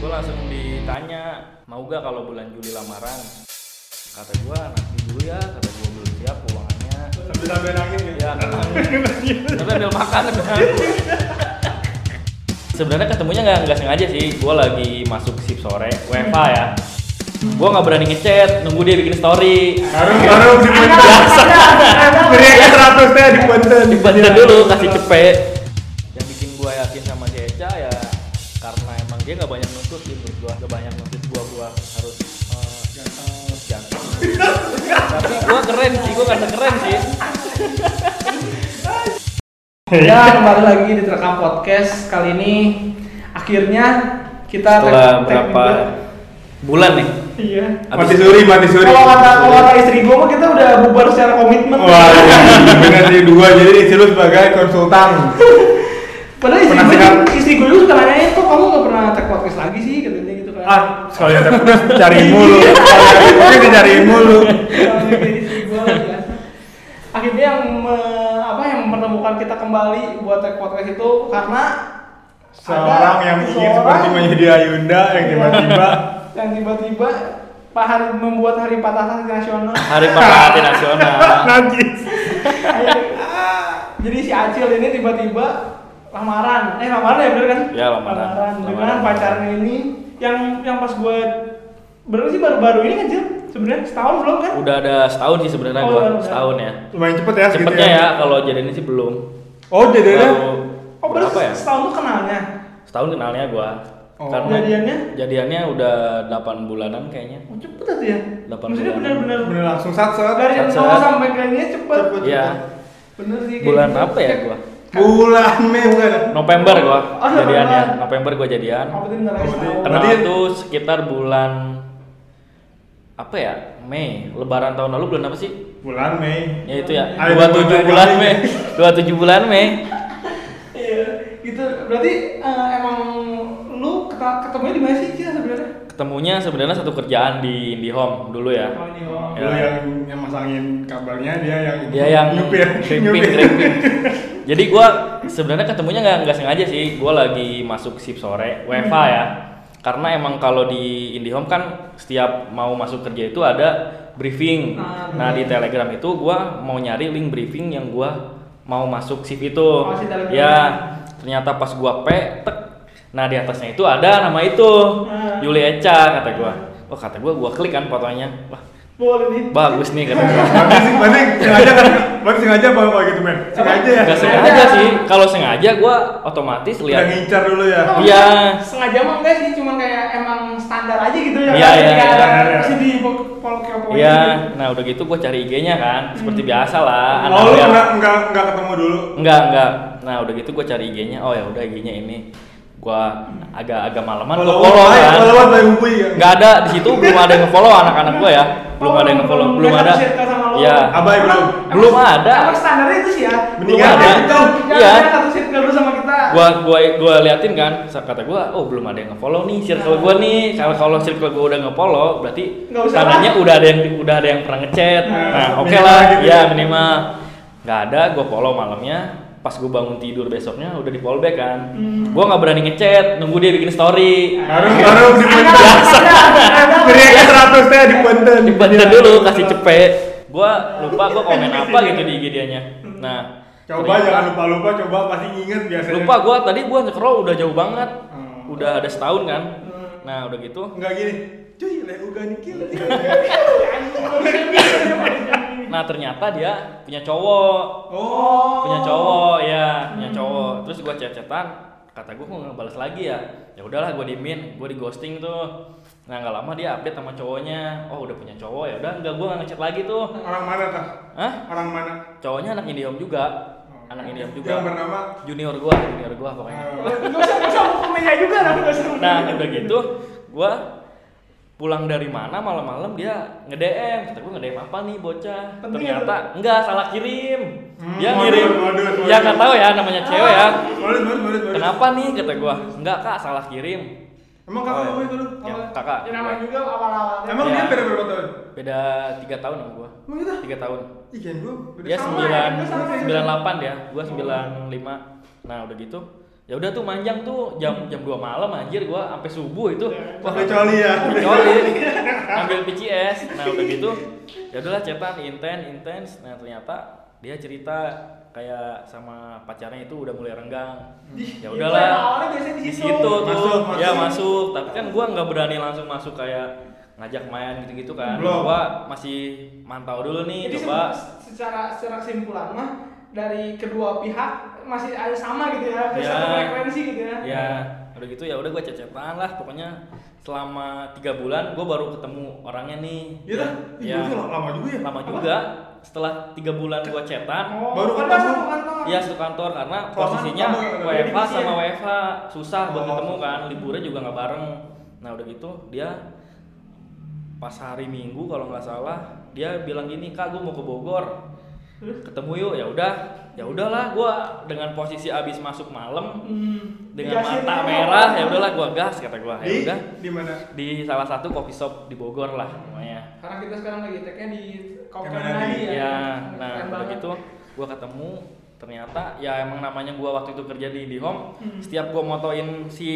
gue langsung ditanya mau gak kalau bulan Juli lamaran kata gue nanti dulu ya kata gue belum siap keuangannya Sambil sambil nangis gitu. ya memang tapi ambil makan sebenarnya ketemunya nggak nggak sengaja sih gue lagi masuk sip sore WFA ya gue nggak berani ngechat nunggu dia bikin story Harus harus di biasa Berikan seratus teh di Banten. dibantu dulu kasih cepet Iya, yang bikin gua yakin sama si Eca ya karena emang dia nggak banyak nuntut sih menurut gua nggak banyak nuntut gua gua harus eh, jantung tapi gua keren sih gua karena keren sih Ya kembali lagi di Terekam Podcast kali ini akhirnya kita setelah tag- tag berapa juga. bulan nih Iya. Mati suri, mati suri. Kalau kata kalau kata istri gue mah kita udah bubar secara komitmen. Wah, iya, bener sih dua. Jadi istri lu sebagai konsultan. Padahal istri gue Penasehat. istri gue juga suka nanyain kok kamu gak pernah tag podcast lagi sih katanya gitu kan. Ah, soalnya ada putus cari mulu. Soalnya dicari mulu. Kalau kayak istri gue kan. Akhirnya yang me- apa yang mempertemukan kita kembali buat tag podcast itu karena Seorang ada yang ingin seorang seperti menjadi Ayunda yang tiba-tiba yang tiba-tiba Pak Hari membuat hari patah hati nasional. hari perhati nasional nangis. Jadi si Acil ini tiba-tiba lamaran. Eh lamaran ya bener kan? Ya, lamaran. Dengan Lamaran. pacarnya ini yang yang pas gue bener sih baru-baru ini kan Cil? Sebenarnya setahun belum kan? udah ada setahun sih sebenarnya Oh, gitu gua udah, udah. setahun ya Lumayan cepet ya segitu cepetnya ya kalau jadinya sih belum Oh, jadinya Baru Oh baru berapa ya setahun tuh kenalnya. setahun kenalnya gua Oh. Jadiannya? jadiannya udah 8 bulanan kayaknya Oh, cepet tuh ya. Delapan Maksudnya bulan. bener-bener bener langsung sat sat. dari Saat-saat. nol sampai kayaknya cepet. Cepet. Iya. Bener sih. kayak Bulan gitu. apa ya gua? Bulan Mei bukan. November gua Oh, November. jadiannya. November gua jadian. Apa tuh ntar Oh, berarti- setahun? Kenal Berarti- tuh sekitar bulan apa ya? Mei. Lebaran tahun lalu bulan apa sih? Bulan Mei. Ya itu ya. Ada 27 bulan bulan kali. Mei. 27 bulan Mei. Iya. Gitu. Berarti eh, emang lu keta- ketemunya di mana sih Cil sebenarnya? Ketemunya sebenarnya satu kerjaan di di home dulu ya. Oh, di home. Ya. Lu yang yang masangin kabarnya dia yang ya? Dia yang ya, nyupir, krimping krimping. Jadi gua sebenarnya ketemunya nggak nggak sengaja sih. Gua lagi masuk sip sore WFA Hmm. ya. Karena emang kalau di IndiHome kan setiap mau masuk kerja itu ada briefing. Ah, Nah, di Telegram itu gua mau nyari link briefing yang gua mau masuk sip itu. Oh, si Telegram. ya, ternyata pas gua pe tek. Nah, di atasnya itu ada nama itu. Ah. Yuli Eca kata gua. Wah, kata gua gua klik kan fotonya. Wah, Boleh nih. bagus nih kata gua. Berarti sih- berarti sengaja kan? Berarti sengaja apa apa gitu men? Sengaja ya. Gak sengaja sih. Kalau sengaja gua otomatis Udah lihat ngincar dulu ya. Oh, Iya. Sengaja mah enggak sih, cuman kayak emang standar aja gitu ya. Iya, iya, Nggak iya, ada iya. masih di polkeo Iya, nah udah gitu gua cari IG-nya kan, seperti biasa lah. anak Oh lu lihat. enggak enggak enggak ketemu dulu. Enggak, enggak. Nah, udah gitu gua cari IG-nya. Oh ya udah IG-nya ini. Gua agak agak malaman gua Kalau follow baik, kan. kalau baik baik hubungi ya. Enggak ada di situ belum ada yang follow anak-anak gua ya. Belum Oh, ada yang follow, belum ada. Iya. Iya. Abai belum. Belum ada. Emang standarnya itu sih ya. Mendingan ada. kita Iya. Iya. Satu circle dulu sama kita. Gua gua gua liatin kan, kata gua, oh belum ada yang nge-follow nih circle gua nih. Kalau kalau circle gua udah nge-follow, berarti Nggak usah tandanya udah ada yang udah ada yang pernah ngechat. Nah, Nah, oke minimal lah, gitu ya ya. minimal. Nggak ada, gua follow malamnya. Pas gua bangun tidur besoknya udah di follow back kan. Hmm. Gua nggak berani ngechat, nunggu dia bikin story. Iya. Harus harus di Ada, Banten. ada, ada. Berikan seratus teh di Iya. Banten. Dibanten dulu kasih cepet. Gua lupa gua komen apa gitu di IG dianya. Nah, Coba jangan lupa lupa coba pasti inget biasanya. lupa gua tadi gua scroll udah jauh banget. Hmm. Udah ada setahun kan. Nah, udah gitu Enggak gini. Cuy, leh uga nikil. Nah ternyata dia punya cowok, Oh. Hmm. punya cowok ya, punya cowok. Terus gua chat-chatan, kata gua nggak balas lagi ya. Ya udahlah gua diemin, gua di ghosting tuh. Nah nggak lama dia update sama cowoknya, oh udah punya cowok ya udah nggak gua nggak ngechat lagi tuh. Orang mana tah? Hah? Orang mana? Cowoknya anak Indiom juga, anak Indiom juga. Oh. Yang bernama eh, Junior gua, junior gua pokoknya. Enggak usah enggak usah komennya juga lah, nggak usah. Nah udah gitu, gua pulang dari mana malam-malam dia nge-DM kata gue nge-DM apa nih bocah Penting ternyata enggak salah kirim Hmm, dia modus, ngirim modus, modus. ya nggak tahu ya namanya cewek Ah. ya Baris, baris, baris, baris. Kenapa nih kata gua? Enggak kak salah kirim. Emang kakak Oh, lu itu lu? Ya, Apa? kakak. Ya namanya juga awal-awal. Emang Ya. dia beda berapa tahun? Beda tiga tahun sama gua. Emang gitu? kita? Tiga tahun. Ih, kan gua beda Dia sama. sama ya, sembilan kita sama ya. sembilan delapan ya. Gua sembilan lima. Nah udah gitu. ya udah tuh manjang tuh jam jam 2 malam anjir gua sampai subuh itu Ya, Wah, Pakai coli ya. Coli, ambil PCS nah udah gitu ya udahlah cetan inten intens nah ternyata dia cerita kayak sama pacarnya itu udah mulai renggang ya udahlah awalnya biasanya di di situ situ. tuh Masuk, masuk. ya masuk tapi kan gua nggak berani langsung masuk kayak ngajak main gitu-gitu kan Belum. gua masih mantau dulu nih Jadi coba se- secara secara kesimpulan mah dari kedua pihak masih ada sama gitu ya, Ya. satu frekuensi gitu ya. ya udah gitu ya udah gue cecetan lah pokoknya selama tiga bulan gue baru ketemu orangnya nih Iya dah, ya, itu lama juga ya. lama juga setelah tiga bulan gue cetan Oh, Baru kan ketemu. satu kantor. ya satu kantor karena Sama- posisinya sama- WFH divisi sama ya? WFH susah buat Oh. ketemu kan liburnya juga nggak bareng nah udah gitu dia pas hari Minggu kalau nggak salah dia bilang gini kak gue mau ke Bogor Terus? ketemu yuk ya udah ya udahlah gue dengan posisi abis masuk malam Hmm. dengan Dikasih mata ini. merah ya udahlah gua gas kata gua ya Iya Di udah di mana? di salah satu coffee shop di Bogor lah namanya Karena kita sekarang lagi tag-nya di Kopi Yang mana Menadi di- ya. ya nah Keren udah banget. gitu gua ketemu ternyata ya emang namanya gua waktu itu kerja di di home Hmm. setiap gua motoin si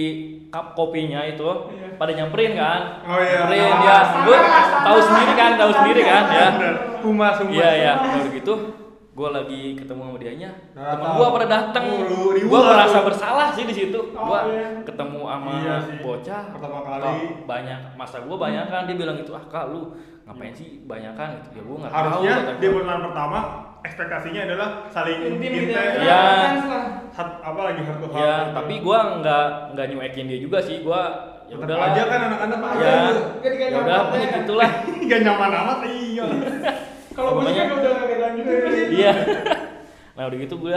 cup kopinya itu Iya. pada nyamperin kan Oh, iya. nyamperin Ah, ya standar gua lah, standar tahu lah. sendiri kan tahu Standar, sendiri kan ya Bener. Humas humas. Iya iya, udah gitu gue lagi ketemu sama dianya Nah, temen tahu. gue pada dateng Lu riuh gue lah merasa lu. bersalah sih di situ Oh, gue iya. ketemu sama Iya sih. bocah Pertama "Kak, kali." banyak masa gue banyak kan dia bilang gitu ah kak lu ngapain sih banyak kan gitu ya gue nggak tahu Harusnya kata di gua. bulan pertama ekspektasinya adalah saling Intim gitu intim ya. Iya. Intens lah. Hat- apa lagi heart to heart ya gitu. tapi gue nggak nggak nyuekin dia juga sih gue ya Tetep udahlah aja kan anak-anak aja ya gitu. Jadi kayak ya ya. udah nyaman pokoknya aja. gitulah Gak nyaman amat iya. Kalau gue Pokoknya- juga udah gak lanjutin sih. iya nah udah gitu gue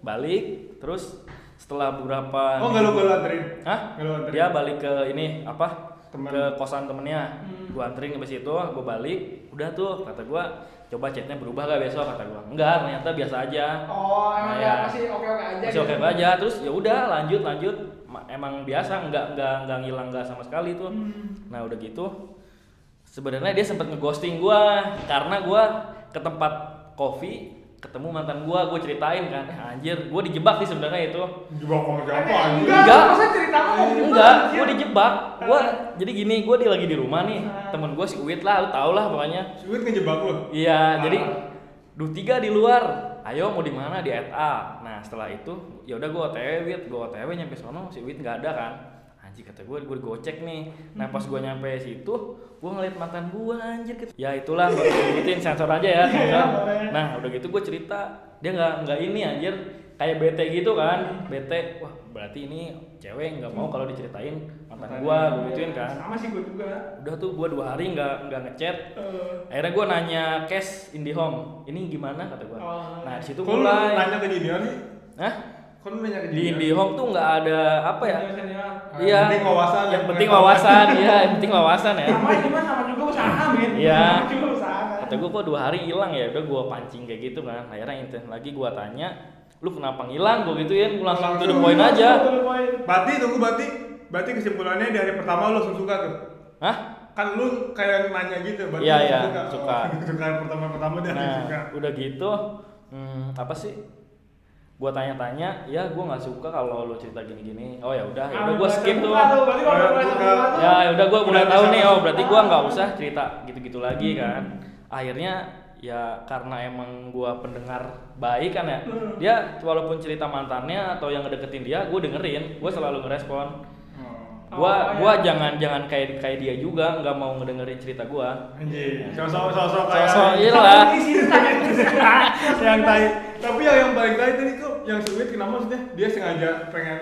balik terus setelah beberapa Oh enggak lu gua lu anterin. Hah? Iya. Nggak lu anterin? Dia balik ke ini apa? Temen. Ke kosan temennya. Hmm. Gua anterin ke situ, gua balik. Udah tuh kata gua, coba chatnya berubah gak besok kata gua. Enggak, ternyata biasa aja. Oh, Nah, emang ya ya. masih oke-oke aja gitu. Masih oke aja. Terus ya udah lanjut lanjut. Ma- Emang biasa nggak nggak nggak ngilang nggak sama sekali tuh. Hmm. Nah udah gitu. Sebenarnya dia sempet ngeghosting gua karena gua ke tempat kopi ketemu mantan gua, gua ceritain kan, "Eh, anjir, gua dijebak sih sebenarnya itu. Dibawa sama siapa anjing? Enggak, Enggak. masa cerita lo mau dijebak, enggak anjir? gue dijebak gue jadi gini gue di lagi di rumah nih Ah. temen gue si Uwit lah lu tau lah pokoknya Sulit ngejebak lu. iya Ah. jadi duh tiga di luar ayo mau di mana di ETA nah setelah itu ya udah gue otw Wit gue otw nyampe sono si Wit nggak ada kan anjir kata gue gue gocek nih nah pas gue nyampe situ gue ngeliat mantan gue anjir ket- ya itulah gue sebutin sensor aja ya sensor boleh. nah udah gitu gue cerita dia nggak nggak ini anjir kayak bete gitu kan bete wah berarti ini cewek nggak mau kalau diceritain mantan gua gue gituin kan Sama sih gue juga. udah tuh gua dua hari nggak nggak ngechat Eh, akhirnya gua nanya cash Indihome ini gimana kata gua Oh. nah di situ Kok lu mulai nanya ke Gideon nih? nah Kok lu nanya ke di Gideon? Indihome tuh nggak ada apa ya biasanya. Ah, iya yang penting wawasan, yang yang penting pengetahuan. wawasan iya yang penting wawasan ya Sama ini mah sama juga usaha, men. Iya. Sama juga usaha. kan. kata gue kok dua hari hilang ya udah gue pancing kayak gitu kan akhirnya intens lagi gue tanya lu kenapa ngilang gue gituin gue langsung to the point aja To the point. Berarti tunggu berarti berarti kesimpulannya dari pertama lu langsung suka tuh. hah Kan lu kayak nanya gitu berarti Iya, lu iya, suka. suka. Oh, gitu kan pertama-pertama dia langsung suka. nah udah gitu hmm, apa sih gue tanya-tanya ya gue nggak suka kalau lu cerita gini-gini oh ya udah ya udah gue skip tuh Nah, Buka Berarti Ya, buka. kalau udah mulai terbuka tuh, ya udah gue udah Udah tahu bisa nih masuk. oh berarti gue nggak usah cerita gitu-gitu Hmm. lagi kan akhirnya ya karena emang gue pendengar baik kan ya Hmm. dia walaupun cerita mantannya atau yang ngedeketin dia gue dengerin gue selalu ngerespon Oh. gua Oh, gua iya. jangan jangan kayak kayak dia juga nggak mau ngedengerin cerita gua Anjing, sosok sosok kayak Sosok, iya. Sama gitu. lah. isi tadi. yang tai. Tapi yang yang paling tai tadi tuh yang sulit kenapa maksudnya? Dia sengaja pengen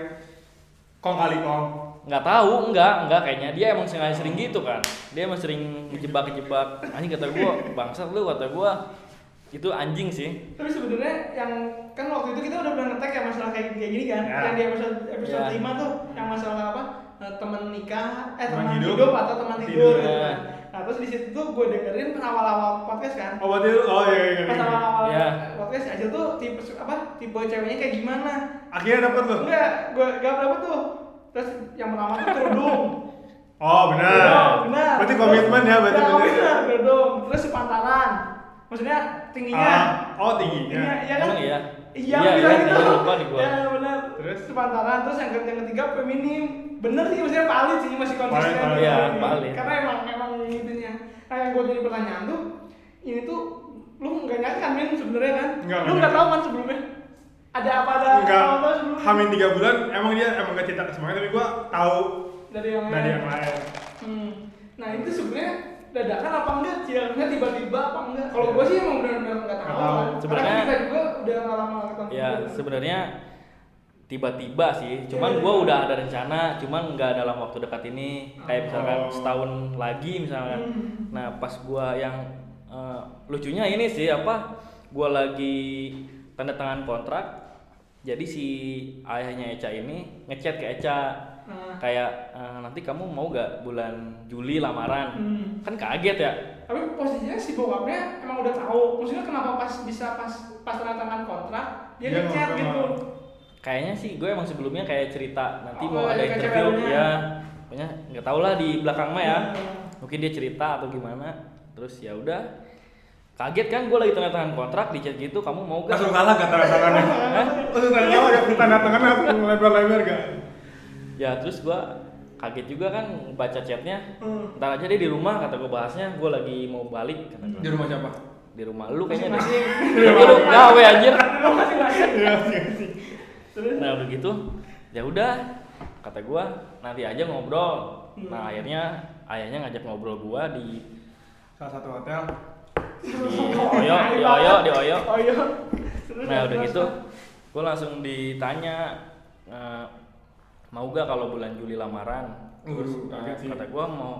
kong kali kong. nggak tahu nggak nggak kayaknya dia emang sengaja sering gitu kan dia emang sering ngejebak ngejebak anjing kata gua bangsat lu kata gua itu anjing sih Tapi sebenarnya yang kan waktu itu kita udah pernah ngetek ya masalah kayak kayak gini kan. Ya. Yang di episode episode Ya. 5 tuh yang masalah apa? Eh, teman nikah, eh Teman teman hidup, hidup. atau teman tidur, Tidur, gitu ya. kan. Nah, terus di situ tuh gue dengerin pas awal-awal podcast kan. Oh berarti lu- oh iya iya. Pas iya. awal-awal Ya. podcast aja tuh tipe apa? Tipe ceweknya kayak gimana? Akhirnya dapat lu. Enggak, gue gak berapa tuh. Terus yang pertama tuh kerudung. Oh benar. Kerudung, Iya, benar. Berarti komitmen ya berarti Nah, benar. Benar, kerudung. Terus si pantalan. Maksudnya tingginya. Ah, oh tingginya. Tingginya, iya kan? Emang iya? Iya, Iya, bilang iya, gitu. iya, lupa nih gua. Ya, benar. Terus? sepantaran terus yang, ke- yang ketiga feminim bener sih maksudnya valid sih masih konsisten Valid, valid, Iya, Ini. valid. karena emang emang intinya nah yang gue jadi pertanyaan tuh ini tuh lu nggak nyangka kan men sebenarnya kan Nggak, lu nggak nggak tahu kan sebelumnya ada apa ada Enggak, apa kan sebelumnya hamin 3 bulan emang dia emang gak cerita ke semuanya tapi gua tahu dari yang dari lain. yang lain. Hmm. Nah itu sebenarnya dadakan apa enggak sih? Harusnya tiba-tiba apa enggak? Kalau gue sih emang benar-benar nggak tahu. Nggak tahu. Kan. Iya. Sebenarnya- Karena kita juga udah nggak lama ketemu. ya sebenarnya tiba-tiba sih Iya, cuman iya. gua udah ada rencana cuman nggak dalam waktu dekat ini kayak misalkan Oh. setahun lagi misalkan Hmm. nah pas gua yang eh, lucunya ini sih apa gua lagi tanda tangan kontrak jadi si ayahnya Eca ini ngechat ke Eca Nah, kayak eh, nanti kamu mau gak bulan Juli lamaran hmm. kan kaget ya Tapi posisinya si bokapnya emang udah tahu. Maksudnya kenapa pas bisa pas pas tanda tangan kontrak dia Iya, Dia ngechat ngomong gitu. sama- kayaknya sih gue emang sebelumnya kayak cerita nanti Oh, mau ada iya, kayak interview ceweknya. ya pokoknya nggak tau lah di belakang mah ya Iya. mungkin dia cerita atau gimana terus ya udah kaget kan gue lagi tanda tangan kontrak di chat gitu kamu mau gak Langsung kalah gak tanda tangannya? Hah? Langsung tanda tangan gak tanda tangan langsung lebar-lebar gak? ya terus gue kaget juga kan baca chatnya Hmm. ntar aja dia di rumah kata gue bahasnya gue lagi mau balik kata gua. Di rumah siapa? di rumah lu kayaknya Iya, deh. Masing-masing. Iya, Lu lu gawe anjir Masing-masing. Iya sih sih. Terus? nah udah gitu ya udah kata gua nanti aja ngobrol nah Hmm. akhirnya ayahnya ngajak ngobrol gua di Salah satu hotel. di oyo Iya, di oyo di oyo Oh iya. Terus nah udah terus- gitu gua langsung ditanya eh, mau gak kalau bulan Juli lamaran terus Uh, kaget eh, sih. kata gua mau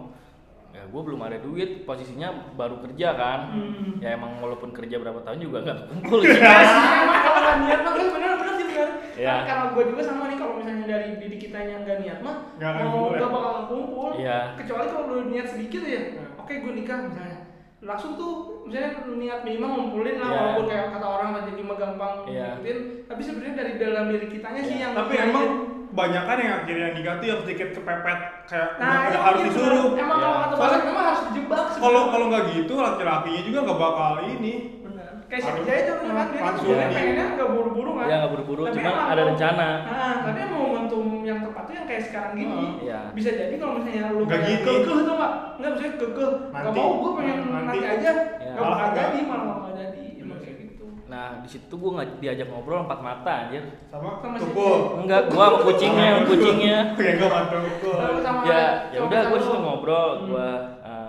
ya gua belum ada duit posisinya baru kerja kan Hmm. ya emang walaupun kerja berapa tahun juga nggak kumpul sih Iya sih, emang kalau nggak niat mah gue bener bener sih Iya. bener. Nah, Karena- Karena gue juga sama nih kalau misalnya dari diri kita yang nggak niat mah Nggak akan mau kumpul ya? gak bakal kumpul. Iya. Kecuali kalau lu niat sedikit ya, Iya. oke gue nikah misalnya. Langsung tuh misalnya lu niat minimal ngumpulin lah Iya. walaupun kayak kata orang lah jadi mah gampang Iya. ngikutin. Tapi sebenarnya dari dalam diri kitanya sih Iya. yang Tapi emang banyak kan yang akhirnya nikah tuh yang sedikit kepepet kayak nah udah- itu udah harus mungkin disuruh. bener. Emang Iya. kalau kata Soalnya- bahasa memang harus dijebak. sih. Kalau kalau nggak gitu laki-lakinya juga nggak bakal ini. Bener. kayak Harus- si Jaya itu kan dia kan Langsung sebenarnya di- pengennya nggak buru-buru kan. ya nggak buru-buru Tapi cuman emang ada mau- rencana Nah, tapi emang momentum yang tepat tuh yang kayak sekarang gini. Hmm, iya. Bisa jadi kalau misalnya lu Nggak kayak gitu. kekeh tuh enggak? Enggak bisa kekeh. Enggak Nanti. mau gue pengen Hmm, nanti, nanti. aja. Iya. Enggak bakal Malah jadi, malah enggak jadi. Emang kayak gitu. nah di situ gua nggak diajak ngobrol empat mata anjir Sama Sama si tukul. Enggak, gua sama kucingnya, sama kucingnya. Kayak gua mantu tukul. Sama- sama Ya, sama ya udah kita gua lu. situ ngobrol, Hmm. gua eh,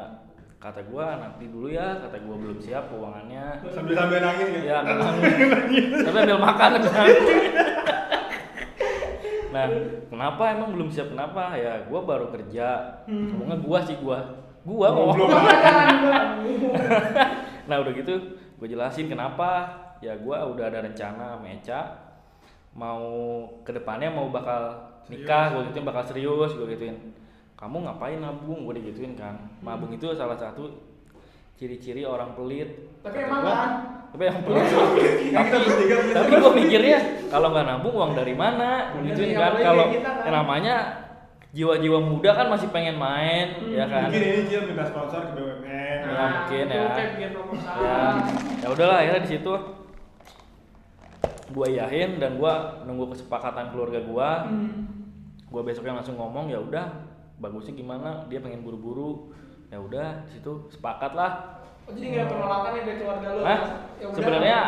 kata gua nanti dulu ya, kata gua belum siap keuangannya. Sambil sambil nangis ya. Ya, memang. Tapi ambil makan misalnya. Nah, kenapa emang belum siap kenapa? Ya, gua baru kerja. Hmm. Ngomongnya gua sih gua. Gua ngomong. Goblok. Jangan, jangan, jangan. Nah, udah gitu gua jelasin kenapa. Ya, gua udah ada rencana sama Eca mau kedepannya mau bakal nikah, gue gituin bakal serius, gue gituin. Kamu ngapain nabung? Gue digituin kan. Hmm. Nabung itu salah satu ciri-ciri orang pelit. Tapi Kata emang gua, kan? Tapi emang pelit. Kan kita bertiga punya tapi gue mikirnya kalau nggak nabung uang dari mana? Dari Gituin yang kan. lain Kalau kayak kita kan. yang namanya jiwa-jiwa muda kan masih pengen main, Hmm, ya kan? Mungkin ini dia minta sponsor ke BUMN. Ya, mungkin itu ya. kayak bikin proposal. ya ya udahlah akhirnya di situ gue yahin dan gue nunggu kesepakatan keluarga gue Hmm. gue besoknya langsung ngomong ya udah bagusnya gimana dia pengen buru-buru ya udah di situ sepakat lah Oh, jadi nggak ada penolakan ya dari keluarga lu? nah Ya udah. sebenarnya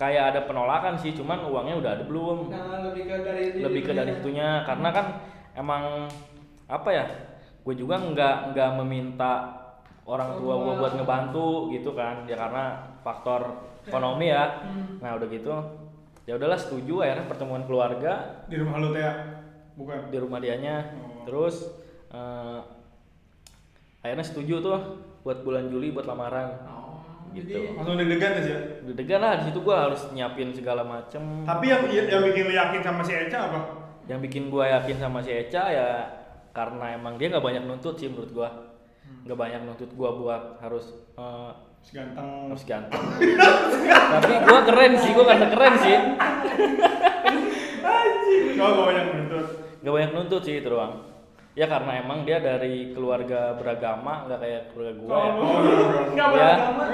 kayak ada penolakan sih cuman uangnya udah ada belum Nah, lebih ke dari lebih ke dari itunya. itunya karena kan emang apa ya gue juga nggak nggak meminta orang tua gue buat ngebantu gitu kan ya karena faktor ekonomi ya Hmm. nah udah gitu ya udahlah setuju akhirnya pertemuan keluarga Di rumah lu teh. Bukan. di rumah dianya Oh. terus eh, akhirnya setuju tuh buat bulan Juli buat lamaran Oh, Gitu. jadi- Langsung deg-degan ya sih. ya? deg-degan lah di situ gue harus nyiapin segala macem Tapi yang yang bikin lu yakin sama si Eca apa? yang bikin gue yakin sama si Eca ya karena emang dia nggak banyak nuntut sih menurut gue Hmm. nggak banyak nuntut gue buat harus eh, Si ganteng. harus ganteng tapi gue keren sih gue karena keren sih Coba gua yang menuntut. nggak banyak nuntut sih itu doang ya karena emang dia dari keluarga beragama ya. Oh. iya, nggak kayak keluarga gue ya. Kalau nggak Ya. beragama.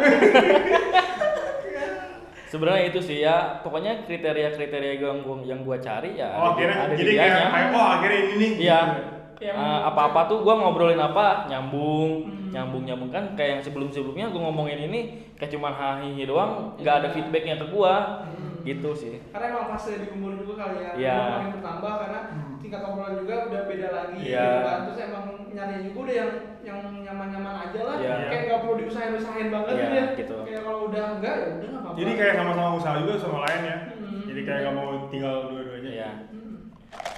sebenarnya itu sih ya pokoknya kriteria kriteria yang gua yang gua cari ya oh akhirnya ada jadi dianya. kayak kayak oh akhirnya ini nih Iya. Yang- Eh, apa-apa tuh gua ngobrolin apa nyambung, Hmm. nyambung nyambung kan kayak yang sebelum-sebelumnya gua ngomongin ini kayak cuman hahihi doang, nggak ada feedbacknya ke gua. Hmm. Gitu sih. karena emang fase di umur juga kali ya Iya. Udah makin bertambah karena Hmm. tingkat obrolan juga udah beda lagi Iya. gitu kan terus emang nyarinya juga udah yang yang nyaman-nyaman aja lah Iya. kayak nggak perlu diusahain-usahain banget Iya, gitu ya gitu. kayak kalau udah enggak ya udah nggak apa-apa jadi kayak sama-sama usaha juga sama lain ya Hmm. jadi kayak nggak mau tinggal dua-duanya Iya. Hmm.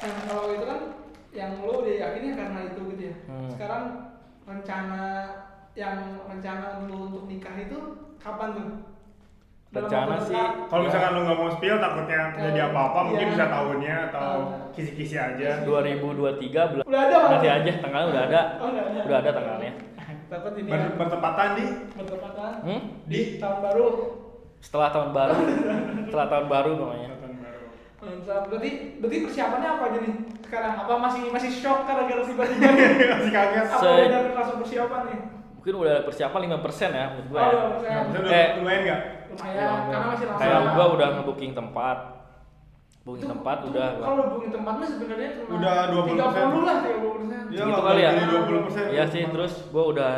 Nah, kalau itu kan yang lo udah yakinnya karena itu gitu ya Hmm. sekarang rencana yang rencana lo untuk nikah itu kapan tuh Dalam Rencana waktu sih- dekat? kalau Iya. misalkan lu nggak mau spill takutnya terjadi Kalau- apa-apa mungkin iya. bisa tahunnya atau Ah. Tahu. kisi-kisi aja 2023 bulan udah ada Bang? nanti aja tanggalnya udah ada. Oh, udah ada. Udah ada tanggalnya. Takut Iya. ini ya, Ber- bertepatan di bertepatan Hmm? di tahun baru. Setelah tahun baru. Setelah tahun baru namanya. tahun baru Mantap. Berarti berarti persiapannya apa aja nih sekarang? Apa masih masih shock karena gara tiba-tiba? masih kaget apa Se- udah langsung persiapan nih? Mungkin udah ada persiapan 5% ya menurut gua. Oh, ya. udah persiapan. Maksudnya Eh. udah lumayan nggak Lumayan, Iya, karena masih lama. Kayak gua udah nge-booking tempat. Booking Tuh, tempat tuh, udah. gua. Kalau booking tempatnya sebenarnya cuma Udah 20%. 30 lah kayak 20%. Iya Gitu lah, kali ya? jadi 20% Iya sih, terus gua udah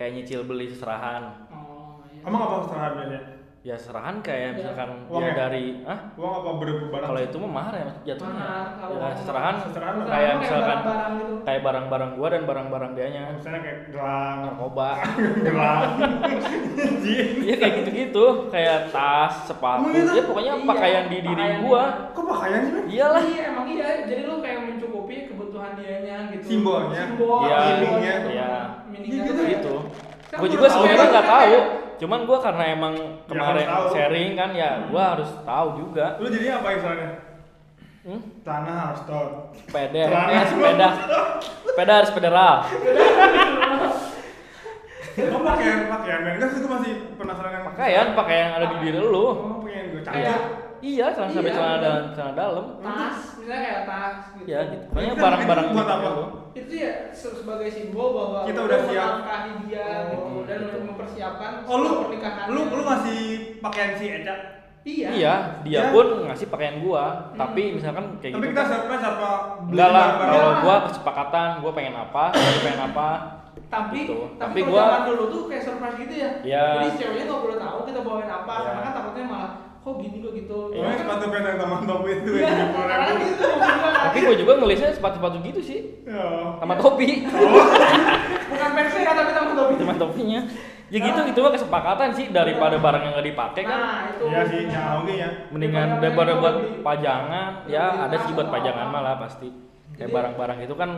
kayak nyicil beli serahan. Oh, iya. emang apa serahan biasanya Ya serahan kayak misalkan Uang ya ya? dari ah uang apa berebut barang kalau itu mah mahar ya Mas, jatuhnya. Mahar, kalau- Ya, serahan Serahan mah kayak kayak misalkan barang-barang gitu. kayak barang-barang gua dan barang-barang dianya. misalnya kayak gelang Narkoba. gelang jin Iya kayak gitu-gitu, kayak tas, sepatu, Emang gitu? ya pokoknya Iya, pakaian di diri pakaian gua. dia. kok pakaian sih men? Iyalah. Iya emang iya. Jadi lu kayak mencukupi kebutuhan dianya gitu. Simbolnya. Simbol. Iya. simbolnya, Iya. Meaningnya Iya, tuh kayak gitu. Kan Gue gua juga tahu sebenarnya kan, nggak kan tahu, kayak- cuman gua karena emang Ya, kemarin harus tahu. sharing kan ya, gua harus tahu juga. lu jadinya apa misalnya Hmm? tanah harus tol Sepeda, Celana. eh, sepeda, sepeda harus federal. Kok pakaian pakaian men? Kan itu masih penasaran kan Pakaian, pakaian yang ada di diri lu. Oh, pakaian gue Kayak cakep. ya? Iya, celana sampai Iya, celana bener. dalam, celana dalam. tas, misalnya kayak tas gitu. Ya gitu. Pokoknya Itu barang-barang buat gitu. apa? Itu ya se- sebagai simbol bahwa Kita lu udah siap. melangkahi dia gitu Oh, dan gitu. mempersiapkan Oh lu pernikahan. lu lu ngasih pakaian si Eca. Iya. Iya, dia Ya. pun ngasih pakaian gua, Hmm. tapi misalkan kayak Tapi gitu. kita surprise apa Enggak lah, barang-barang? kalau Enggak. gua kesepakatan, gua pengen apa, dia pengen apa. Tapi Gitu. Tapi tapi, kalau gua- zaman dulu tuh kayak surprise gitu ya. Iya. Jadi si ceweknya nggak boleh tahu kita bawain apa Iya. karena kan takutnya malah kok gini kok gitu. Iya. Pokoknya sepatu pendek teman topi itu Iya, yang puluh karena ribu. gitu maksud gua kan. Tapi gua juga ngelisnya sepatu-sepatu gitu sih, Ya. sama Iya. topi. Oh. Bukan pensil ya, tapi tamu topi. Cuman topinya. Ya gitu gitu mah kesepakatan sih daripada barang yang nggak dipakai kan. Nah, itu. Iya sih, jangan oke ya. Mendingan Daripada daripada barang buat yang nggak Iya. pajangan, beli. Beli ya ada sih tas buat atau pajangan apa. malah pasti. Kayak Jadi- barang-barang itu kan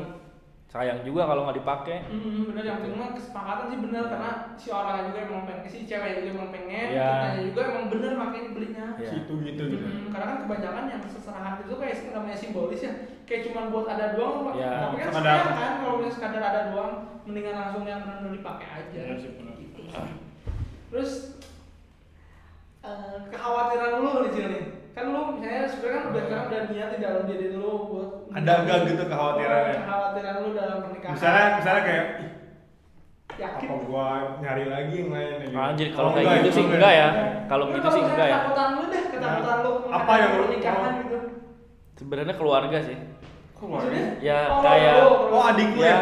sayang juga kalau nggak dipakai. Hmm, bener yang penting mah kesepakatan sih bener karena si orangnya juga emang pengen si cewek juga emang pengen Iya. kitanya juga emang bener makin belinya Iya. Situ gitu gitu. Hmm, karena kan kebanyakan yang seserahan itu kayak namanya simbolis ya kayak cuma buat ada doang Pak. Iya, tapi kan sekadar. sayang kan kalau misalnya sekadar ada doang mendingan langsung yang bener dipakai aja Gitu Iya sih, bener. terus eh, kekhawatiran lu di sini kan lu misalnya sebenarnya kan udah sekarang udah niat di dalam diri lu buat Ada nggak gitu kekhawatirannya? kekhawatiran lu dalam pernikahan Misalnya misalnya kayak ih, yakin apa gua nyari lagi yang lain ya, gitu. Anjir kalau Oh, kayak gitu sih itu enggak ya. enggak. Kalau Lu gitu sih misalnya enggak ya. Ketakutan lu deh, ketakutan lu Apa menghadapi yang lu- pernikahan oh. gitu. Sebenarnya keluarga sih. Keluar. Ya, Oh, kayak- lu- lu- Oh, adik lu ya. Ya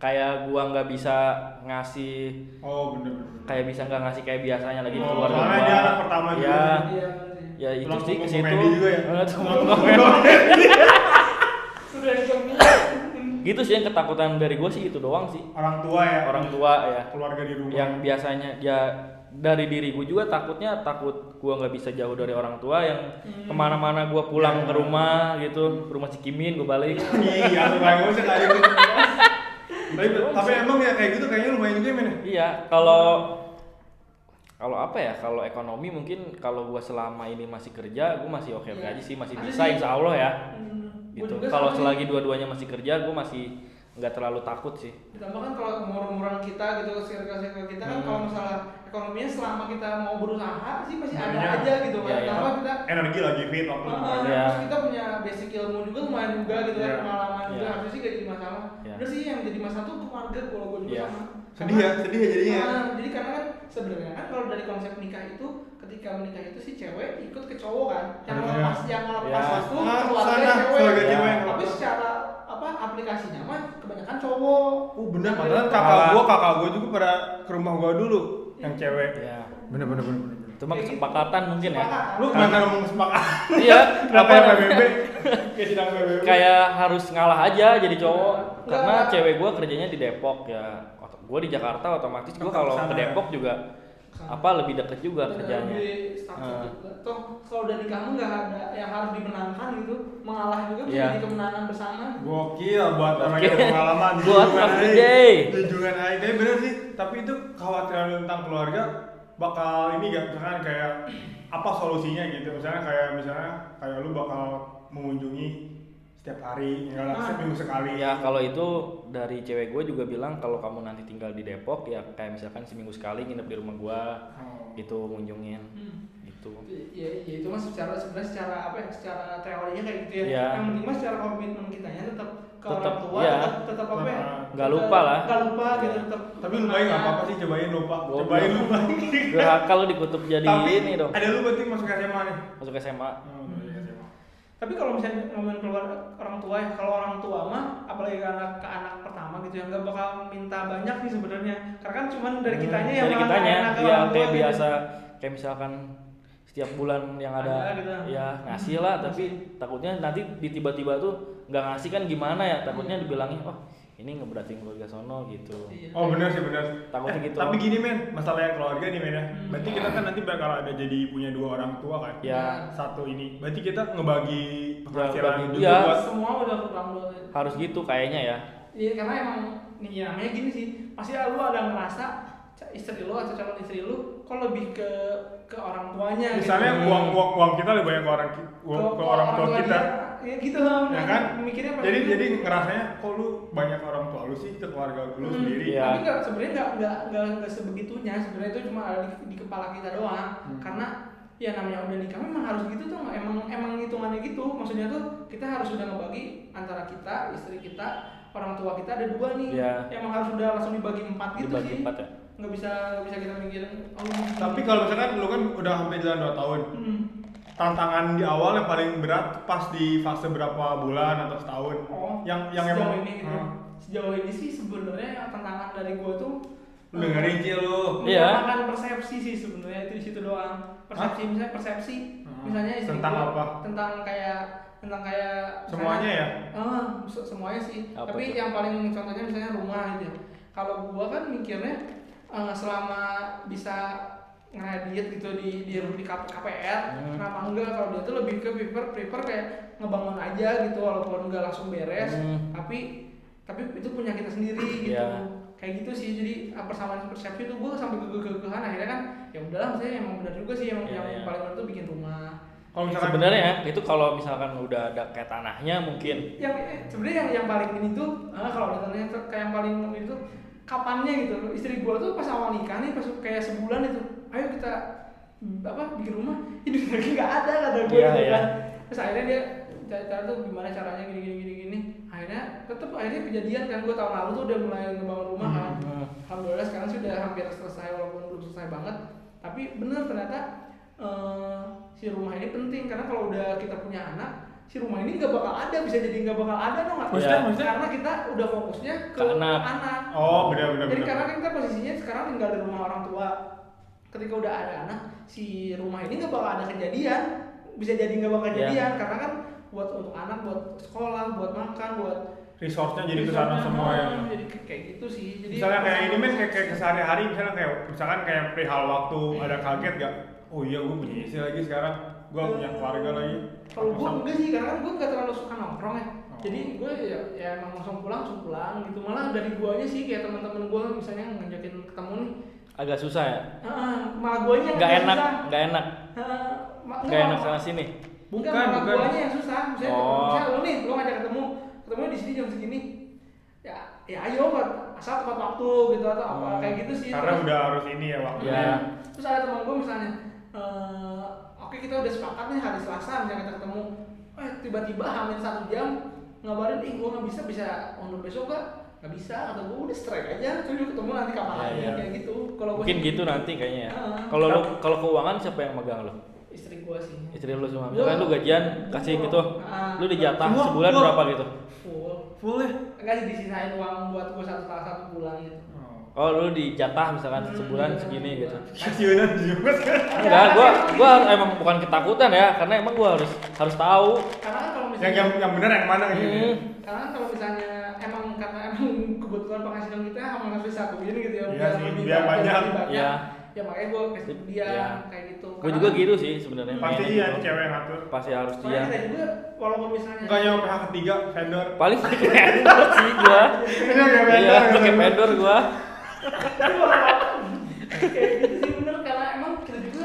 kayak gua nggak bisa ngasih Oh, bener bener. kayak bisa nggak ngasih kayak biasanya lagi di Oh, keluarga soalnya gua. dia anak pertama juga. ya, Iya. ya itu Tulang sih ke punggung situ komedi juga ya? Eh, tulang Tulang punggung punggung komedi. Sudah dijamin. gitu sih yang ketakutan dari gua sih itu doang sih Orang tua ya. orang tua ya keluarga di rumah. yang biasanya ya dari diri gua juga takutnya takut gua nggak bisa jauh dari orang tua yang kemana-mana gua pulang ke rumah gitu ke rumah si Kimin gua balik Iya, lumayan gue sih kayak gitu. tapi, tapi emang ya kayak gitu kayaknya lumayan juga men. Iya, kalau kalau apa ya? Kalau ekonomi mungkin kalau gua selama ini masih kerja, gua masih oke oke Iya. aja sih, masih Ada bisa sih. insya Allah ya. Hmm, gua Gitu. juga Kalau sama sih. selagi dua-duanya masih kerja, gua masih nggak terlalu takut sih. ditambah kan kalau umur-umuran kita gitu circle-circle kita kan Hmm. kalau masalah ekonominya selama kita mau berusaha sih masih ada Iya. aja gitu kan. Iya, iya. Ditambah kita Energi lagi fit waktu itu. Heeh, Iya. terus kita punya basic ilmu juga lumayan juga gitu kan Iya. pengalaman juga Iya. harusnya sih gak jadi masalah. Iya. Terus sih yang jadi masalah tuh keluarga kalau gue juga Iya. sama. Ah. Sedih ya, sedih ya jadinya. Nah, jadi karena kan sebenarnya kan kalau dari konsep nikah itu ketika menikah itu si cewek ikut ke cowok kan yang Iya. melepas yang melepas Iya. waktu Ah, keluarga sana, cewek keluarga cewek. tapi secara apa aplikasinya mah kebanyakan cowok Kan Oh bener, padahal kakak Kakak. gua, kakak gua juga pada ke rumah gua dulu yang cewek. ya Bener bener bener. bener. itu mah gitu. kesepakatan mungkin ya Sepakat. Lu kenapa ngomong sepakat? iya Kenapa apa ya PBB? Kayak sidang PBB. kayak harus ngalah aja jadi cowok Enggak. karena cewek gue kerjanya di Depok ya Ot- gue di Jakarta otomatis gue kalau ke Kesana. Depok juga Kesana. apa lebih deket juga Dan kerjanya lebih stabil Ah. Eh. juga. toh kalau udah nikah mah nggak ada yang harus dimenangkan gitu mengalah juga bisa Iya. jadi kemenangan bersama Gokil buat orang yang Gokil. pengalaman. Buat Mas Ide. Tujuan aja tapi bener sih. Tapi itu khawatiran lu tentang keluarga bakal ini gak misalkan kayak apa solusinya gitu. Misalnya kayak misalnya kayak lu bakal mengunjungi setiap hari, enggak lah, Ah. seminggu sekali. ya kalau itu dari cewek gue juga bilang kalau kamu nanti tinggal di Depok ya kayak misalkan seminggu sekali nginep di rumah gue Oh. gitu ngunjungin Hmm. gitu ya, ya itu mah secara sebenarnya secara apa ya secara teorinya kayak gitu ya Iya. yang penting mah secara komitmen kitanya tetap ke Tetap, orang tua iya. tetap, tetap apa ya Nah, nggak tetap- lupa lah. nggak lupa gitu Iya. tetap Tapi lu bayangin nggak apa-apa sih cobain lupa. Goblok. Cobain lupa. Gak kalau dikutuk jadi Tapi ini dong iya, ada lu berarti masuk SMA nih. masuk SMA Oh, dari SMA. tapi kalau misalnya ngomongin keluar orang tua ya kalau orang tua mah apalagi ke anak ke anak pertama gitu ya nggak bakal minta banyak sih sebenarnya karena kan cuman dari Hmm, kitanya yang dari malah kitanya enak ke ya orang tua kayak gitu. biasa kayak misalkan setiap bulan yang ada, Ada gitu. ya ngasih lah tapi takutnya nanti di tiba-tiba tuh nggak ngasih kan gimana ya takutnya dibilangin oh ini ngeberatin keluarga sono gitu Iya. Oh benar sih benar. Eh, Takutnya gitu. Tapi gini men, masalah yang keluarga nih men ya. Hmm. Berarti kita kan nanti bakal ada jadi punya dua orang tua kan. ya Satu ini. Berarti kita ngebagi bagi penghasilan juga dia. buat semua udah ke orang tua harus gitu kayaknya ya Iya karena emang nih ya, namanya gini sih pasti lu ada ngerasa ca- istri lu atau calon istri lu kok lebih ke ke orang tuanya misalnya gitu. uang uang uang kita lebih banyak ke orang ki- uang, ke, orang tua kita. dia. ya gitu lah Ya kan? mikirnya Jadi mereka- jadi ngerasanya kok lu banyak orang tua lu sih ke keluarga lu Hmm, sendiri. Iya. tapi nggak sebenarnya nggak nggak nggak nggak sebegitunya sebenarnya itu cuma ada di, di kepala kita doang Hmm. karena ya namanya udah nikah memang harus gitu tuh emang emang hitungannya gitu maksudnya tuh kita harus sudah ngebagi antara kita istri kita orang tua kita ada dua nih Iya. emang harus udah langsung dibagi empat gitu dibagi sih empat ya nggak bisa nggak bisa kita mikirin oh Tapi kalau misalkan lu kan udah hampir jalan 2 tahun. hmm. Tantangan di awal yang paling berat pas di fase berapa bulan atau setahun. oh yang yang sejauh emang Hmm. ini gitu. Hah? sejauh ini sih sebenarnya tantangan dari gua tuh Lu dengerin Ci, lu. Iya. menyamakan persepsi sih sebenarnya itu di situ doang persepsi misalnya persepsi Hmm. misalnya istri Tentang gua- apa? tentang kayak tentang kayak misalnya- Semuanya ya? ah se- semuanya sih Apa tuh? tapi yang paling contohnya misalnya rumah gitu ya. kalau gua kan mikirnya eh, selama bisa ngedit gitu di di di K- KPR Hmm. kenapa enggak kalau dia tuh lebih ke prefer prefer kayak ngebangun aja gitu walaupun enggak langsung beres Hmm. tapi tapi itu punya kita sendiri gitu Iya. kayak gitu sih jadi ah, persamaan persepsi itu gue sampai kegagahan akhirnya kan ya udahlah maksudnya emang benar juga sih yang Iya, yang iya. paling benar tuh bikin rumah Kalau misalkan sebenarnya ya, itu kalau misalkan udah ada kayak tanahnya mungkin yang eh, sebenarnya yang yang paling ini tuh ah, kalau ditanya tuh kayak yang paling ini tuh kapannya gitu istri gue tuh pas awal nikah nih pas kayak sebulan itu ayo kita mm, apa bikin rumah ini lagi nggak ada kata gue Iya, gitu iya. kan terus akhirnya dia cara, cara tuh gimana caranya gini gini gini gini akhirnya tetap akhirnya kejadian kan gue tahun lalu tuh udah mulai ngebangun rumah kan Hmm. alhamdulillah sekarang sudah hampir selesai walaupun belum selesai banget tapi bener ternyata eh, si rumah ini penting karena kalau udah kita punya anak si rumah ini nggak bakal ada bisa jadi nggak bakal ada dong nggak Maksudnya- Iya. maksudnya? karena kita udah fokusnya ke, Ke anak. anak Oh, benar benar. jadi benar. karena kita posisinya sekarang tinggal di rumah orang tua ketika udah ada anak si rumah ini nggak bakal ada kejadian bisa jadi nggak bakal Iya. kejadian karena kan buat untuk anak buat sekolah buat makan buat resource-nya jadi ke sana semua ya. jadi kayak gitu sih jadi Misalnya kayak ini men kayak, kayak kesehari-hari misalnya kayak misalkan kayak perihal waktu Iya. ada kaget gak? Oh iya gue punya istri lagi sekarang, gue punya keluarga lagi. Eh, kalau gue Sama- enggak sih karena kan gue nggak terlalu suka nongkrong ya Oh. jadi gue ya, ya emang langsung pulang langsung pulang gitu malah dari guanya sih kayak teman-teman gue misalnya ngajakin ketemu nih Iya. agak susah ya "Ah, malah guanya yang nggak enak susah. nggak enak Ah, ma- nggak enak malah- sana sini bukan, Bukan, malah bukan. guanya yang susah misalnya Oh. misalnya lo nih lo ngajak ketemu ketemu di sini jam segini ya ya ayo Mat. asal tepat waktu gitu atau apa Oh. kayak gitu sih Karena Terus- udah harus ini ya waktunya. Iya. Terus ada teman gue misalnya, eh, oke kita udah sepakat nih hari Selasa misalnya kita ketemu, eh tiba-tiba hamil satu jam ngabarin, ih gue nggak bisa bisa on besok gak? nggak bisa atau gue udah strike aja terus juga ketemu nanti Iya, kapan lagi iya. kayak gitu kalau gue Mungkin gitu nanti kayaknya ya. Ah. Kalau lu kalau keuangan siapa yang megang lu? istri gue sih Istri lu semua. Gua- Misalkan lu gajian kasih gua- gitu. ah. Lu dijatah Gua- sebulan gua- berapa gitu? full full ya enggak sih disisain uang buat gue satu salah satu bulan gitu Oh. Oh, lu dijatah misalkan Hmm, Ya. sebulan iya, segini iya. gitu. pensiunan juga kan Enggak, gua gua emang bukan ketakutan ya, karena emang gua harus harus tahu. karena kan kalau yang misalnya yang yang benar yang mana gitu Hmm. karena kalau misalnya emang karena emang kebetulan penghasilan kita emang harus disatuin gitu ya Iya biar sih, lebih biar banyak. lebih banyak. Iya. ya makanya gue kasih dia Iya. kayak gitu Gua juga gitu iya. sih sebenarnya. pasti pengennya iya gitu. cewek yang ngatur Pasti harus soalnya dia. kita juga walaupun misalnya bukannya sama pihak ketiga vendor Paling vendor sih gua. Ini kayak Iya, vendor, pakai gitu. vendor gua. kayak gitu sih bener karena emang kita juga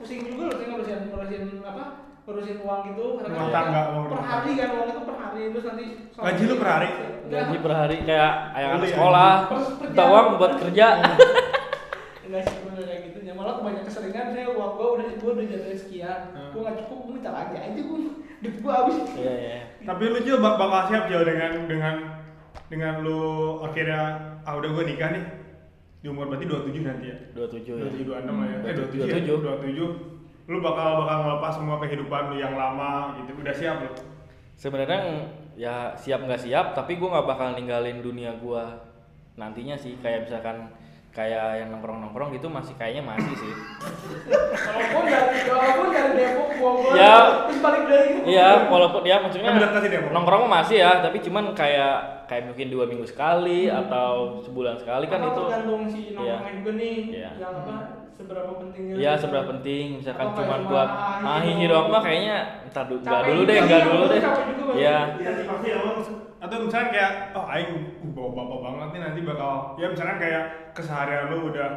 pusing juga loh sih ngurusin ngurusin apa ngurusin uang gitu karena Rumah kan tangga, uang per rumah hari kan uang itu per hari terus nanti Gaji lu per hari? Enggak. Gaji per hari kayak ayah anak Beli, sekolah, anjing. minta uang buat kerja. Enggak sih gue kayak gitu ya malah banyak keseringan saya uang gue udah gue udah jatuh sekian Hmm. gue nggak cukup gue minta lagi aja gue duit gue habis Iya, iya. tapi lu juga bak- bakal siap jauh dengan dengan dengan lu akhirnya ah udah gue nikah nih di umur berarti 27 nanti ya 27 dua ya. tujuh dua enam lah ya eh dua 27. tujuh dua tujuh lu bakal bakal ngelepas semua kehidupan lu yang lama gitu udah siap lu sebenarnya ng- ya siap nggak siap tapi gue nggak bakal ninggalin dunia gue nantinya sih kayak misalkan kayak yang nongkrong nongkrong gitu masih kayaknya masih sih walaupun dari walaupun dari Depok gue gue Ya. terus balik dari iya walaupun ya maksudnya Kan bener sih, Depok. nongkrong mah masih ya tapi cuman kayak kayak mungkin dua minggu sekali Hmm. atau sebulan sekali kan Apa itu tergantung si nongkrongnya juga nih Iya. yang apa seberapa pentingnya ya seberapa penting misalkan Atau cuman kayak buat cuma, ah ah, hihi gitu. doang mah kayaknya ntar dulu nggak Capek dulu juga deh sih, nggak aku dulu tuh deh capek juga banget. ya Iya sih pasti emang atau misalnya kayak oh aing uh, bawa bapak banget nih nanti bakal ya misalnya kayak keseharian lu udah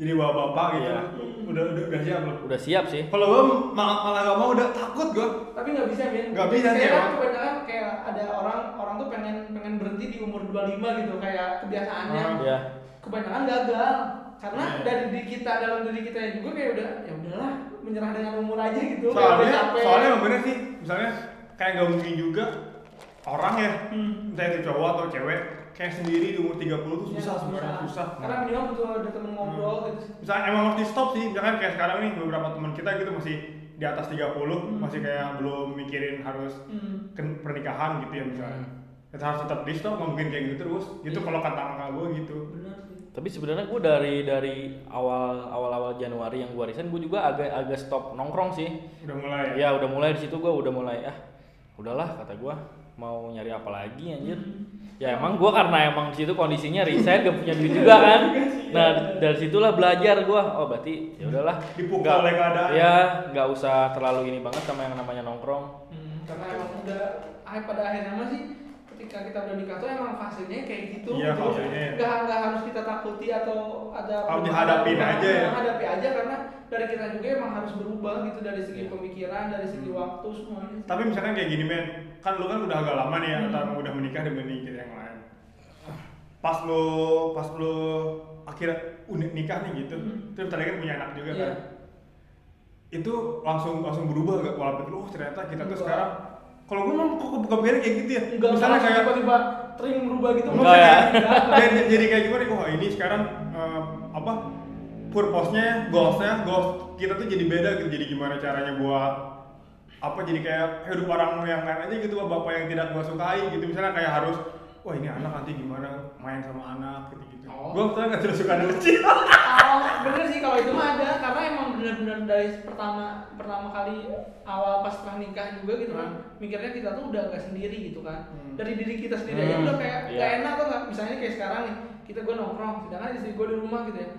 jadi bawa bapak gitu Iya. udah udah udah siap lu udah siap sih kalau gua ma- malah gak mau udah takut gua tapi nggak bisa men Nggak bisa ya? sih, kayak kan emang. kebanyakan kayak ada orang orang tuh pengen pengen berhenti di umur 25 gitu kayak kebiasaannya Ah. ya kebanyakan gagal karena Iya. dari diri kita dalam diri kita juga kayak udah ya udahlah menyerah dengan umur aja gitu kayak udah soalnya capek. soalnya emang bener sih misalnya kayak gak mungkin juga orang ya Hmm. entah itu cowok atau cewek kayak sendiri di umur 30 tuh Ya, susah sebenarnya susah Hmm. karena minimal butuh ada temen ngobrol gitu misalnya emang harus di stop sih misalkan kayak sekarang nih beberapa teman kita gitu masih di atas 30 masih kayak belum mikirin harus hmm. ke pernikahan gitu ya misalnya kita harus tetap di stop nggak mungkin kayak gitu terus gitu Iya. kalau kata kakak gue gitu benar sih tapi sebenarnya gue dari dari awal awal awal Januari yang gue resign gue juga agak agak stop nongkrong sih udah mulai ya udah mulai di situ gue udah mulai ah udahlah kata gue mau nyari apa lagi anjir ya emang gue karena emang di situ kondisinya resign gak punya duit juga kan nah dari situlah belajar gue oh berarti ya udahlah Dipukul Nggak- oleh keadaan. ya nggak usah terlalu ini banget sama yang namanya nongkrong Hmm, karena emang udah ah, pada akhirnya mah sih ketika kita udah nikah tuh emang fasenya kayak gitu Iya, gitu. fasenya. nggak nggak harus kita takuti atau ada Harus dihadapin perubahan, aja ya. hadapi aja karena dari kita juga emang harus berubah gitu dari segi Iya. pemikiran dari segi Hmm. waktu semuanya tapi misalkan kayak gini men kan lu kan udah agak lama nih Hmm. ya atau udah menikah dan menikah yang lain pas lu pas lu akhirnya unik nikah nih gitu Hmm. terus tadi kan punya anak juga Iya. kan itu langsung langsung berubah gak pola pikir oh ternyata kita tuh Berubah. sekarang kalau gue mah kok buka pikirnya kayak gitu ya nggak misalnya langsung kayak tiba-tiba tering berubah gitu Enggak ya. dan jadi kayak gimana wah ini sekarang eh, apa purpose-nya goals-nya goals kita tuh jadi beda gitu jadi gimana caranya buat apa jadi kayak hidup orang yang lain aja gitu bapak yang tidak gua sukai gitu misalnya kayak harus wah ini anak nanti gimana main sama anak gitu gitu Oh. gua misalnya nggak suka anak kecil Oh, bener sih kalau itu mah ada karena emang bener-bener dari pertama pertama kali awal pas setelah nikah juga gitu kan Hmm. mikirnya kita tuh udah nggak sendiri gitu kan Hmm. dari diri kita sendiri aja Hmm, udah kayak iya. nggak enak tuh nggak misalnya kayak sekarang nih kita gue nongkrong sedangkan istri gue di rumah gitu ya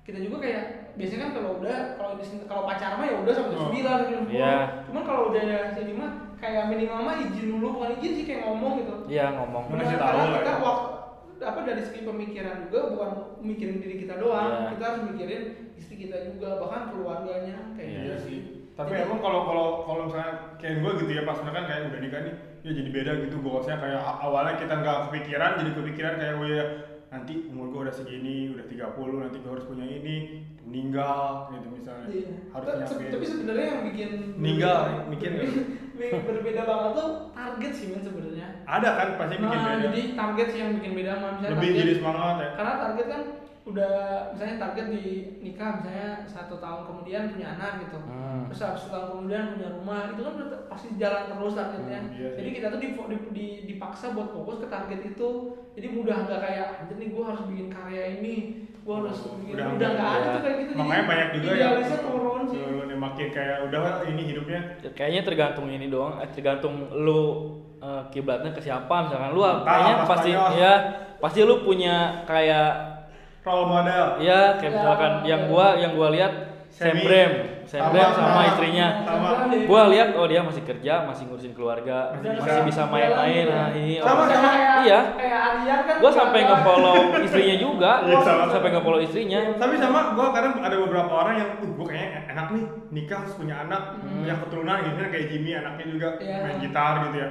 kita juga kayak biasanya kan kalau udah kalau di sini- kalau pacar mah ya udah sampai jam Oh. sembilan sampai jam sepuluh. Iya. cuman kalau udah sini mah kayak minimal mah izin dulu bukan izin sih kayak ngomong gitu ya ngomong Ngasih Benar, karena tahu lah kita ya. waktu apa dari segi pemikiran juga bukan mikirin diri kita doang Iya. kita harus mikirin istri kita juga bahkan keluarganya kayak Iya gitu tapi Jadi- emang kalau kalau kalau misalnya kayak gua gitu ya pas kan kayak udah nikah nih ya jadi beda gitu goalsnya kayak a- awalnya kita nggak kepikiran jadi kepikiran kayak oh ya nanti umur gua udah segini udah 30 nanti gua harus punya ini meninggal gitu misalnya Iya. harus Tapi- nyampe tapi sebenarnya yang bikin Meninggal, mikir nggak? berbeda banget tuh target sih men sebenarnya ada kan pasti bikin Nah, beda jadi target sih yang bikin beda sama misalnya lebih target- jadi semangat ya karena target kan udah misalnya target di nikah misalnya satu tahun kemudian punya anak gitu Hmm. terus habis satu tahun kemudian punya rumah itu kan udah pasti jalan terus targetnya Hmm, iya sih. jadi kita tuh difo- di, di, dipaksa buat fokus ke target itu jadi mudah nggak kayak anjir nih gue harus bikin karya ini gue harus bikin Udah udah nggak ada ya. tuh kayak gitu makanya banyak juga ya idealisnya turun sih yang makin kayak udah lah, ini hidupnya Ya, kayaknya tergantung ini doang eh, tergantung lu eh, kiblatnya ke siapa misalkan lu Entah, kayaknya Mas pasti Panyo. ya pasti lu punya kayak role model ya kayak Ya, misalkan yang ya. gua yang gua lihat Semi. Sembrem, Sembrem Sama, sama sama. istrinya. Iya. Sama. Gua lihat oh dia masih kerja, masih ngurusin keluarga, Masih bisa. masih bisa main-main. Nah, ini Sama, orang- sama. Iya. kayak Aryan kan Gua sampai kelihatan- nge-follow istrinya juga, Iya, sama. sampai nge-follow istrinya. tapi sama gue kadang ada beberapa orang yang uh, gue kayaknya enak nih nikah terus punya anak punya keturunan gitu kan kayak Jimmy anaknya juga Hmm. Iya. main gitar gitu ya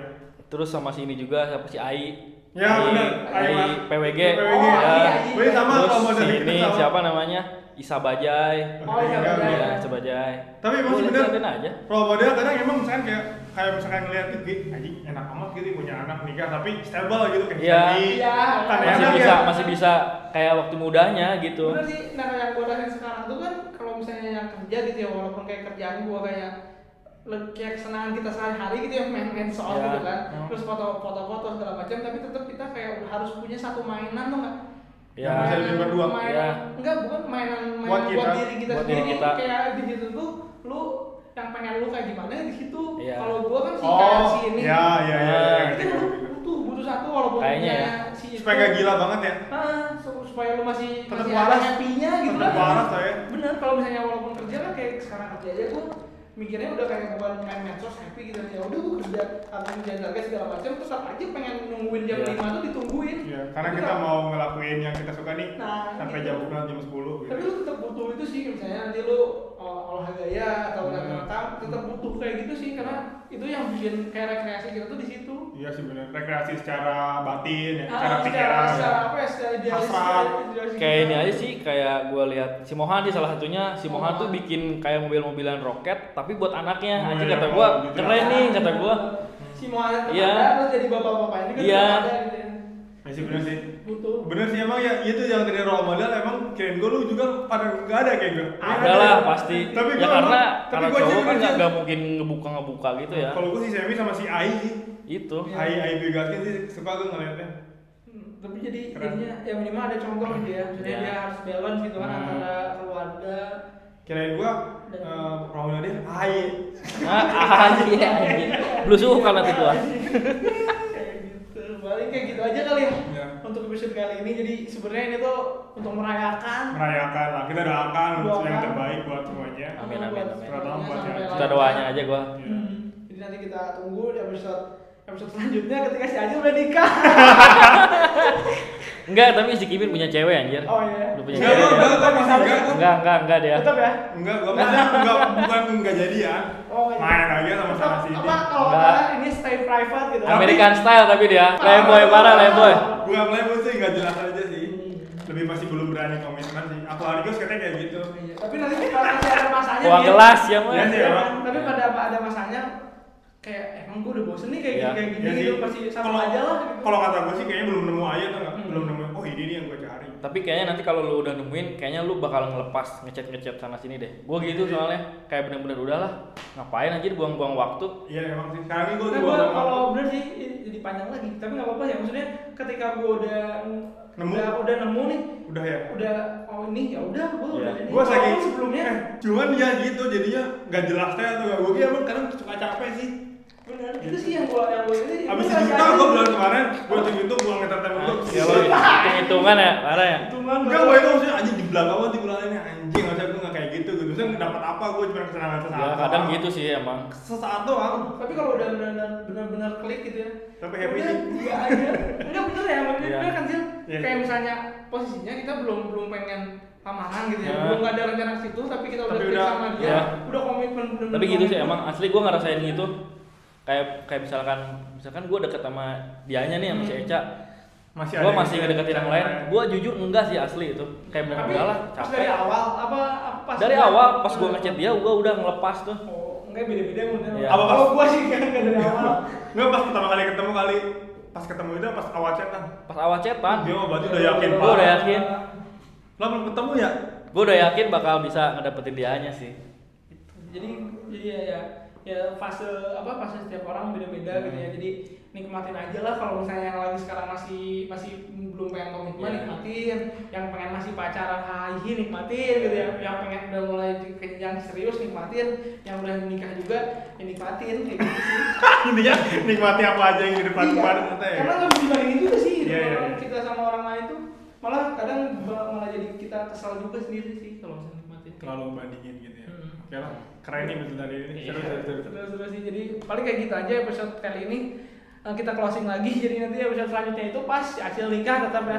Terus sama si ini juga, sama si Ai. ya Ai- benar Ai PWG. PWG iya, Oh, ya. Ai, Ai. Berarti sama Terus kalau model si gitu ini sama. siapa namanya? Isa Bajai. Oh, iya, Iya, benar. Iya, Isa Bajai. tapi Gua emang sebenarnya liatin aja. role model kadang emang misalkan kayak kayak misalkan ngeliat tuh "Ih, anjing enak amat gitu punya anak nikah tapi stable gitu kayak Iya. Sandy. Iya. Kan Masih enak bisa, ya. masih bisa kayak waktu mudanya gitu. Bener sih, nah yang gue rasain sekarang tuh kan kalau misalnya yang kerja gitu ya walaupun kayak kerjaan gue kayak le- kayak kesenangan kita sehari-hari gitu ya main-main soal Ya. gitu kan Hmm. terus foto-foto segala macam tapi tetap kita kayak harus punya satu mainan tuh nggak Ya. Bisa Mainan- bikin berdua. mainan- Ya. enggak bukan mainan mainan Buat buat, kita. diri kita Buat sendiri diri kita. kayak di situ tuh lu yang pengen lu kayak gimana di situ Iya. kalau gue kan sih kayak oh si ini ya ya ya, ya, Nah. ya, itu gitu. butuh butuh satu walaupun Kayaknya ya. punya si supaya gak gila banget ya Ah, sup- supaya lu masih Tetap masih waras. ada happy-nya gitu Tetap waras lah ya. Bener, kalau misalnya walaupun kerja kan kayak sekarang kerja aja gua mikirnya udah kayak bukan main medsos happy gitu ya udah gua kerja harus kerjaan harga segala macam terus apa aja pengen nungguin jam Iya. 5 tuh ditungguin Iya, karena Tapi kita kalau- mau ngelakuin yang kita suka nih Nah, sampai gitu. jam 9 jam 10 gitu. tapi lu tetap butuh itu sih misalnya nanti lu olah- olahraga ya atau Hmm. rekam tetap butuh kayak gitu sih karena itu yang bikin kayak rekreasi kita tuh di situ Iya sih benar. Rekreasi secara batin ya, Ah, secara pikiran. secara apa ya secara idealis Hasrat. idealis kayak kita. ini aja sih kayak gue lihat si Mohan sih salah satunya si Mohan Mohan. tuh bikin kayak mobil-mobilan roket tapi buat anaknya Oh, anjing iya, kata gue gitu. keren nih kata gue si Moana tetap Iya. ada, terus jadi bapak-bapak ini kan Iya. tetap ada gitu ya. Ya sih benar sih. butuh Bener sih emang ya itu yang tadi role model emang kirain gue lu juga pada nggak ada kayak gue. ada lah pasti Tapi ya gua karena emang- tapi karena gua aja cowok kan bener nggak sih. nggak mungkin ngebuka ngebuka gitu ya Kalau gue sih Semi sama si Ai sih. itu Iya. Ai Ai Bigaskin sih suka gue ngeliatnya. Hmm, tapi jadi Keren. jadinya ya minimal ada contoh gitu ya misalnya Iya. dia harus balance gitu kan Hmm. antara keluarga Kirain gue eh role model dia Ai. nah anjing anjing. lu suka nanti gua kayak gitu paling kayak gitu aja kali ya Iya. untuk episode kali ini jadi sebenarnya ini tuh untuk merayakan Merayakan lah kita doakan Doakan. yang terbaik buat semuanya. Amin, amin, buat amin. semuanya Buat sampai yang- kita lancar. doanya aja gua Iya. Hmm. Jadi nanti kita tunggu di episode episode selanjutnya ketika si Aji udah nikah. enggak tapi si Kimir punya cewek anjir Oh iya. lu punya Enggak, cewek Iya. gua- ya? gua gua masih enggak, gua- enggak enggak enggak dia Tetap ya. Enggak, gua maksudnya enggak bukan enggak jadi ya. Oh, iya. Main aja sama sama si ini. Apa kalau Enggak. ada ini stay private gitu. Tapi- American style tapi Ah. dia playboy parah playboy Gua playboy sih enggak jelas aja sih. Lebih masih belum berani komitmen sih. Aku Argos katanya kayak gitu. Iya, Tapi nanti kalau masih ada masanya uang dia- gelas ya Iya mas sih, Iya, emang. Tapi pada ada masanya kayak "Eh, emang gue udah bosen nih kayak Iya. gini kayak gini Ya sih. gitu pasti sama Kalau- aja lah gitu. Kalau kata gua sih kayaknya belum nemu aja tuh enggak. Hmm. Belum nemu. Oh, ini nih yang gua cari. Tapi kayaknya nanti kalau lu udah nemuin, kayaknya lu bakal ngelepas ngechat ngechat sana sini deh. Gua gitu soalnya, kayak bener-bener udahlah, ngapain anjir buang-buang waktu. Iya, emang sih. Sekarang ini gua gua Karena gue nemu. Nah, kalau bener sih i- jadi panjang lagi, tapi nggak apa-apa ya maksudnya ketika gue udah Nemu. udah, udah nemu nih, Udah ya. udah oh ini ya udah gue Iya. udah ini. Gua Walaupun saking sebelumnya eh, cuman ya gitu jadinya enggak jelas teh atau enggak. Gua kayak emang kadang suka capek sih. bener itu sih yang gue yang gue ini. Abis gua itu rasain. gua bulan kemarin gua tuh YouTube gua ngetar temen Ah, gua. iya, Ya lo hitung-hitungan ya, parah ya. Hitungan Enggak, gue itu maksudnya anjing di belakang banget di bulan ini anjing, maksudnya gue gak kayak gitu gitu. Maksudnya dapat apa gue cuma kesenangan sesaat. Ya doang. kadang gitu sih emang. Sesaat doang. tapi kalau udah benar-benar benar-benar klik gitu ya Tapi happy udah, sih. nggak ada enggak bener ya maksudnya Iya. bener kan Zil Iya. kayak misalnya posisinya kita belum belum pengen lamaran gitu ya Ya. belum ada rencana ke situ tapi kita Iya. udah Tapi klik udah- sama dia Iya. udah komitmen bener-bener Tapi gitu sih komitmen. emang, asli gua ngerasain gitu. Kayak kayak misalkan misalkan gua deket sama dianya nih sama si Eca. Masih Gua ada masih yang- ngedeketin yang lain. Gua jujur enggak sih asli itu. Kayak bener tapi enggak lah, pas dari capek. awal apa apa Dari awal pas gua ngechat dia, gua udah ngelepas tuh. oh enggak beda-beda mungkin Iya. Apa apa pas- kalau gua sih kan nggak dari awal Gue pas pertama kali ketemu kali pas pas ketemu itu pas awal chat kan pas awal cetan dia mah berarti udah yakin Gua pak udah ya." yakin. lah belum ketemu ya gue udah yakin bakal bisa ngedapetin dianya sih jadi jadi ya, ya ya fase apa fase setiap orang beda-beda gitu Hmm. ya jadi nikmatin aja lah kalau misalnya yang lagi sekarang masih masih belum pengen komitmen Iya. nikmatin yang pengen masih pacaran hahi nikmatin gitu ya yang pengen udah mulai di- ke jenjang serius nikmatin yang udah menikah juga ya nikmatin kayak gitu sih intinya nikmati apa aja yang di depan Iya, depan kita ya karena nggak bisa dibandingin juga sih hidup Iya, iya, orang iya. kita sama orang lain tuh malah kadang malah jadi kita kesal juga sendiri sih kalau misalnya nikmatin terlalu bandingin gitu ya Hmm. oke lah keren nih betul dari ini Iya. seru seru seru seru. Terus terus sih. Jadi paling kayak gitu aja episode kali ini. Eh, kita closing lagi. Jadi nanti episode selanjutnya itu pas si Acil nikah tetap ya.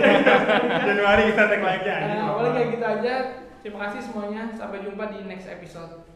Januari kita tag lagi aja Ya, Nah, gitu Eh, paling kayak gitu aja. Terima kasih semuanya. Sampai jumpa di next episode.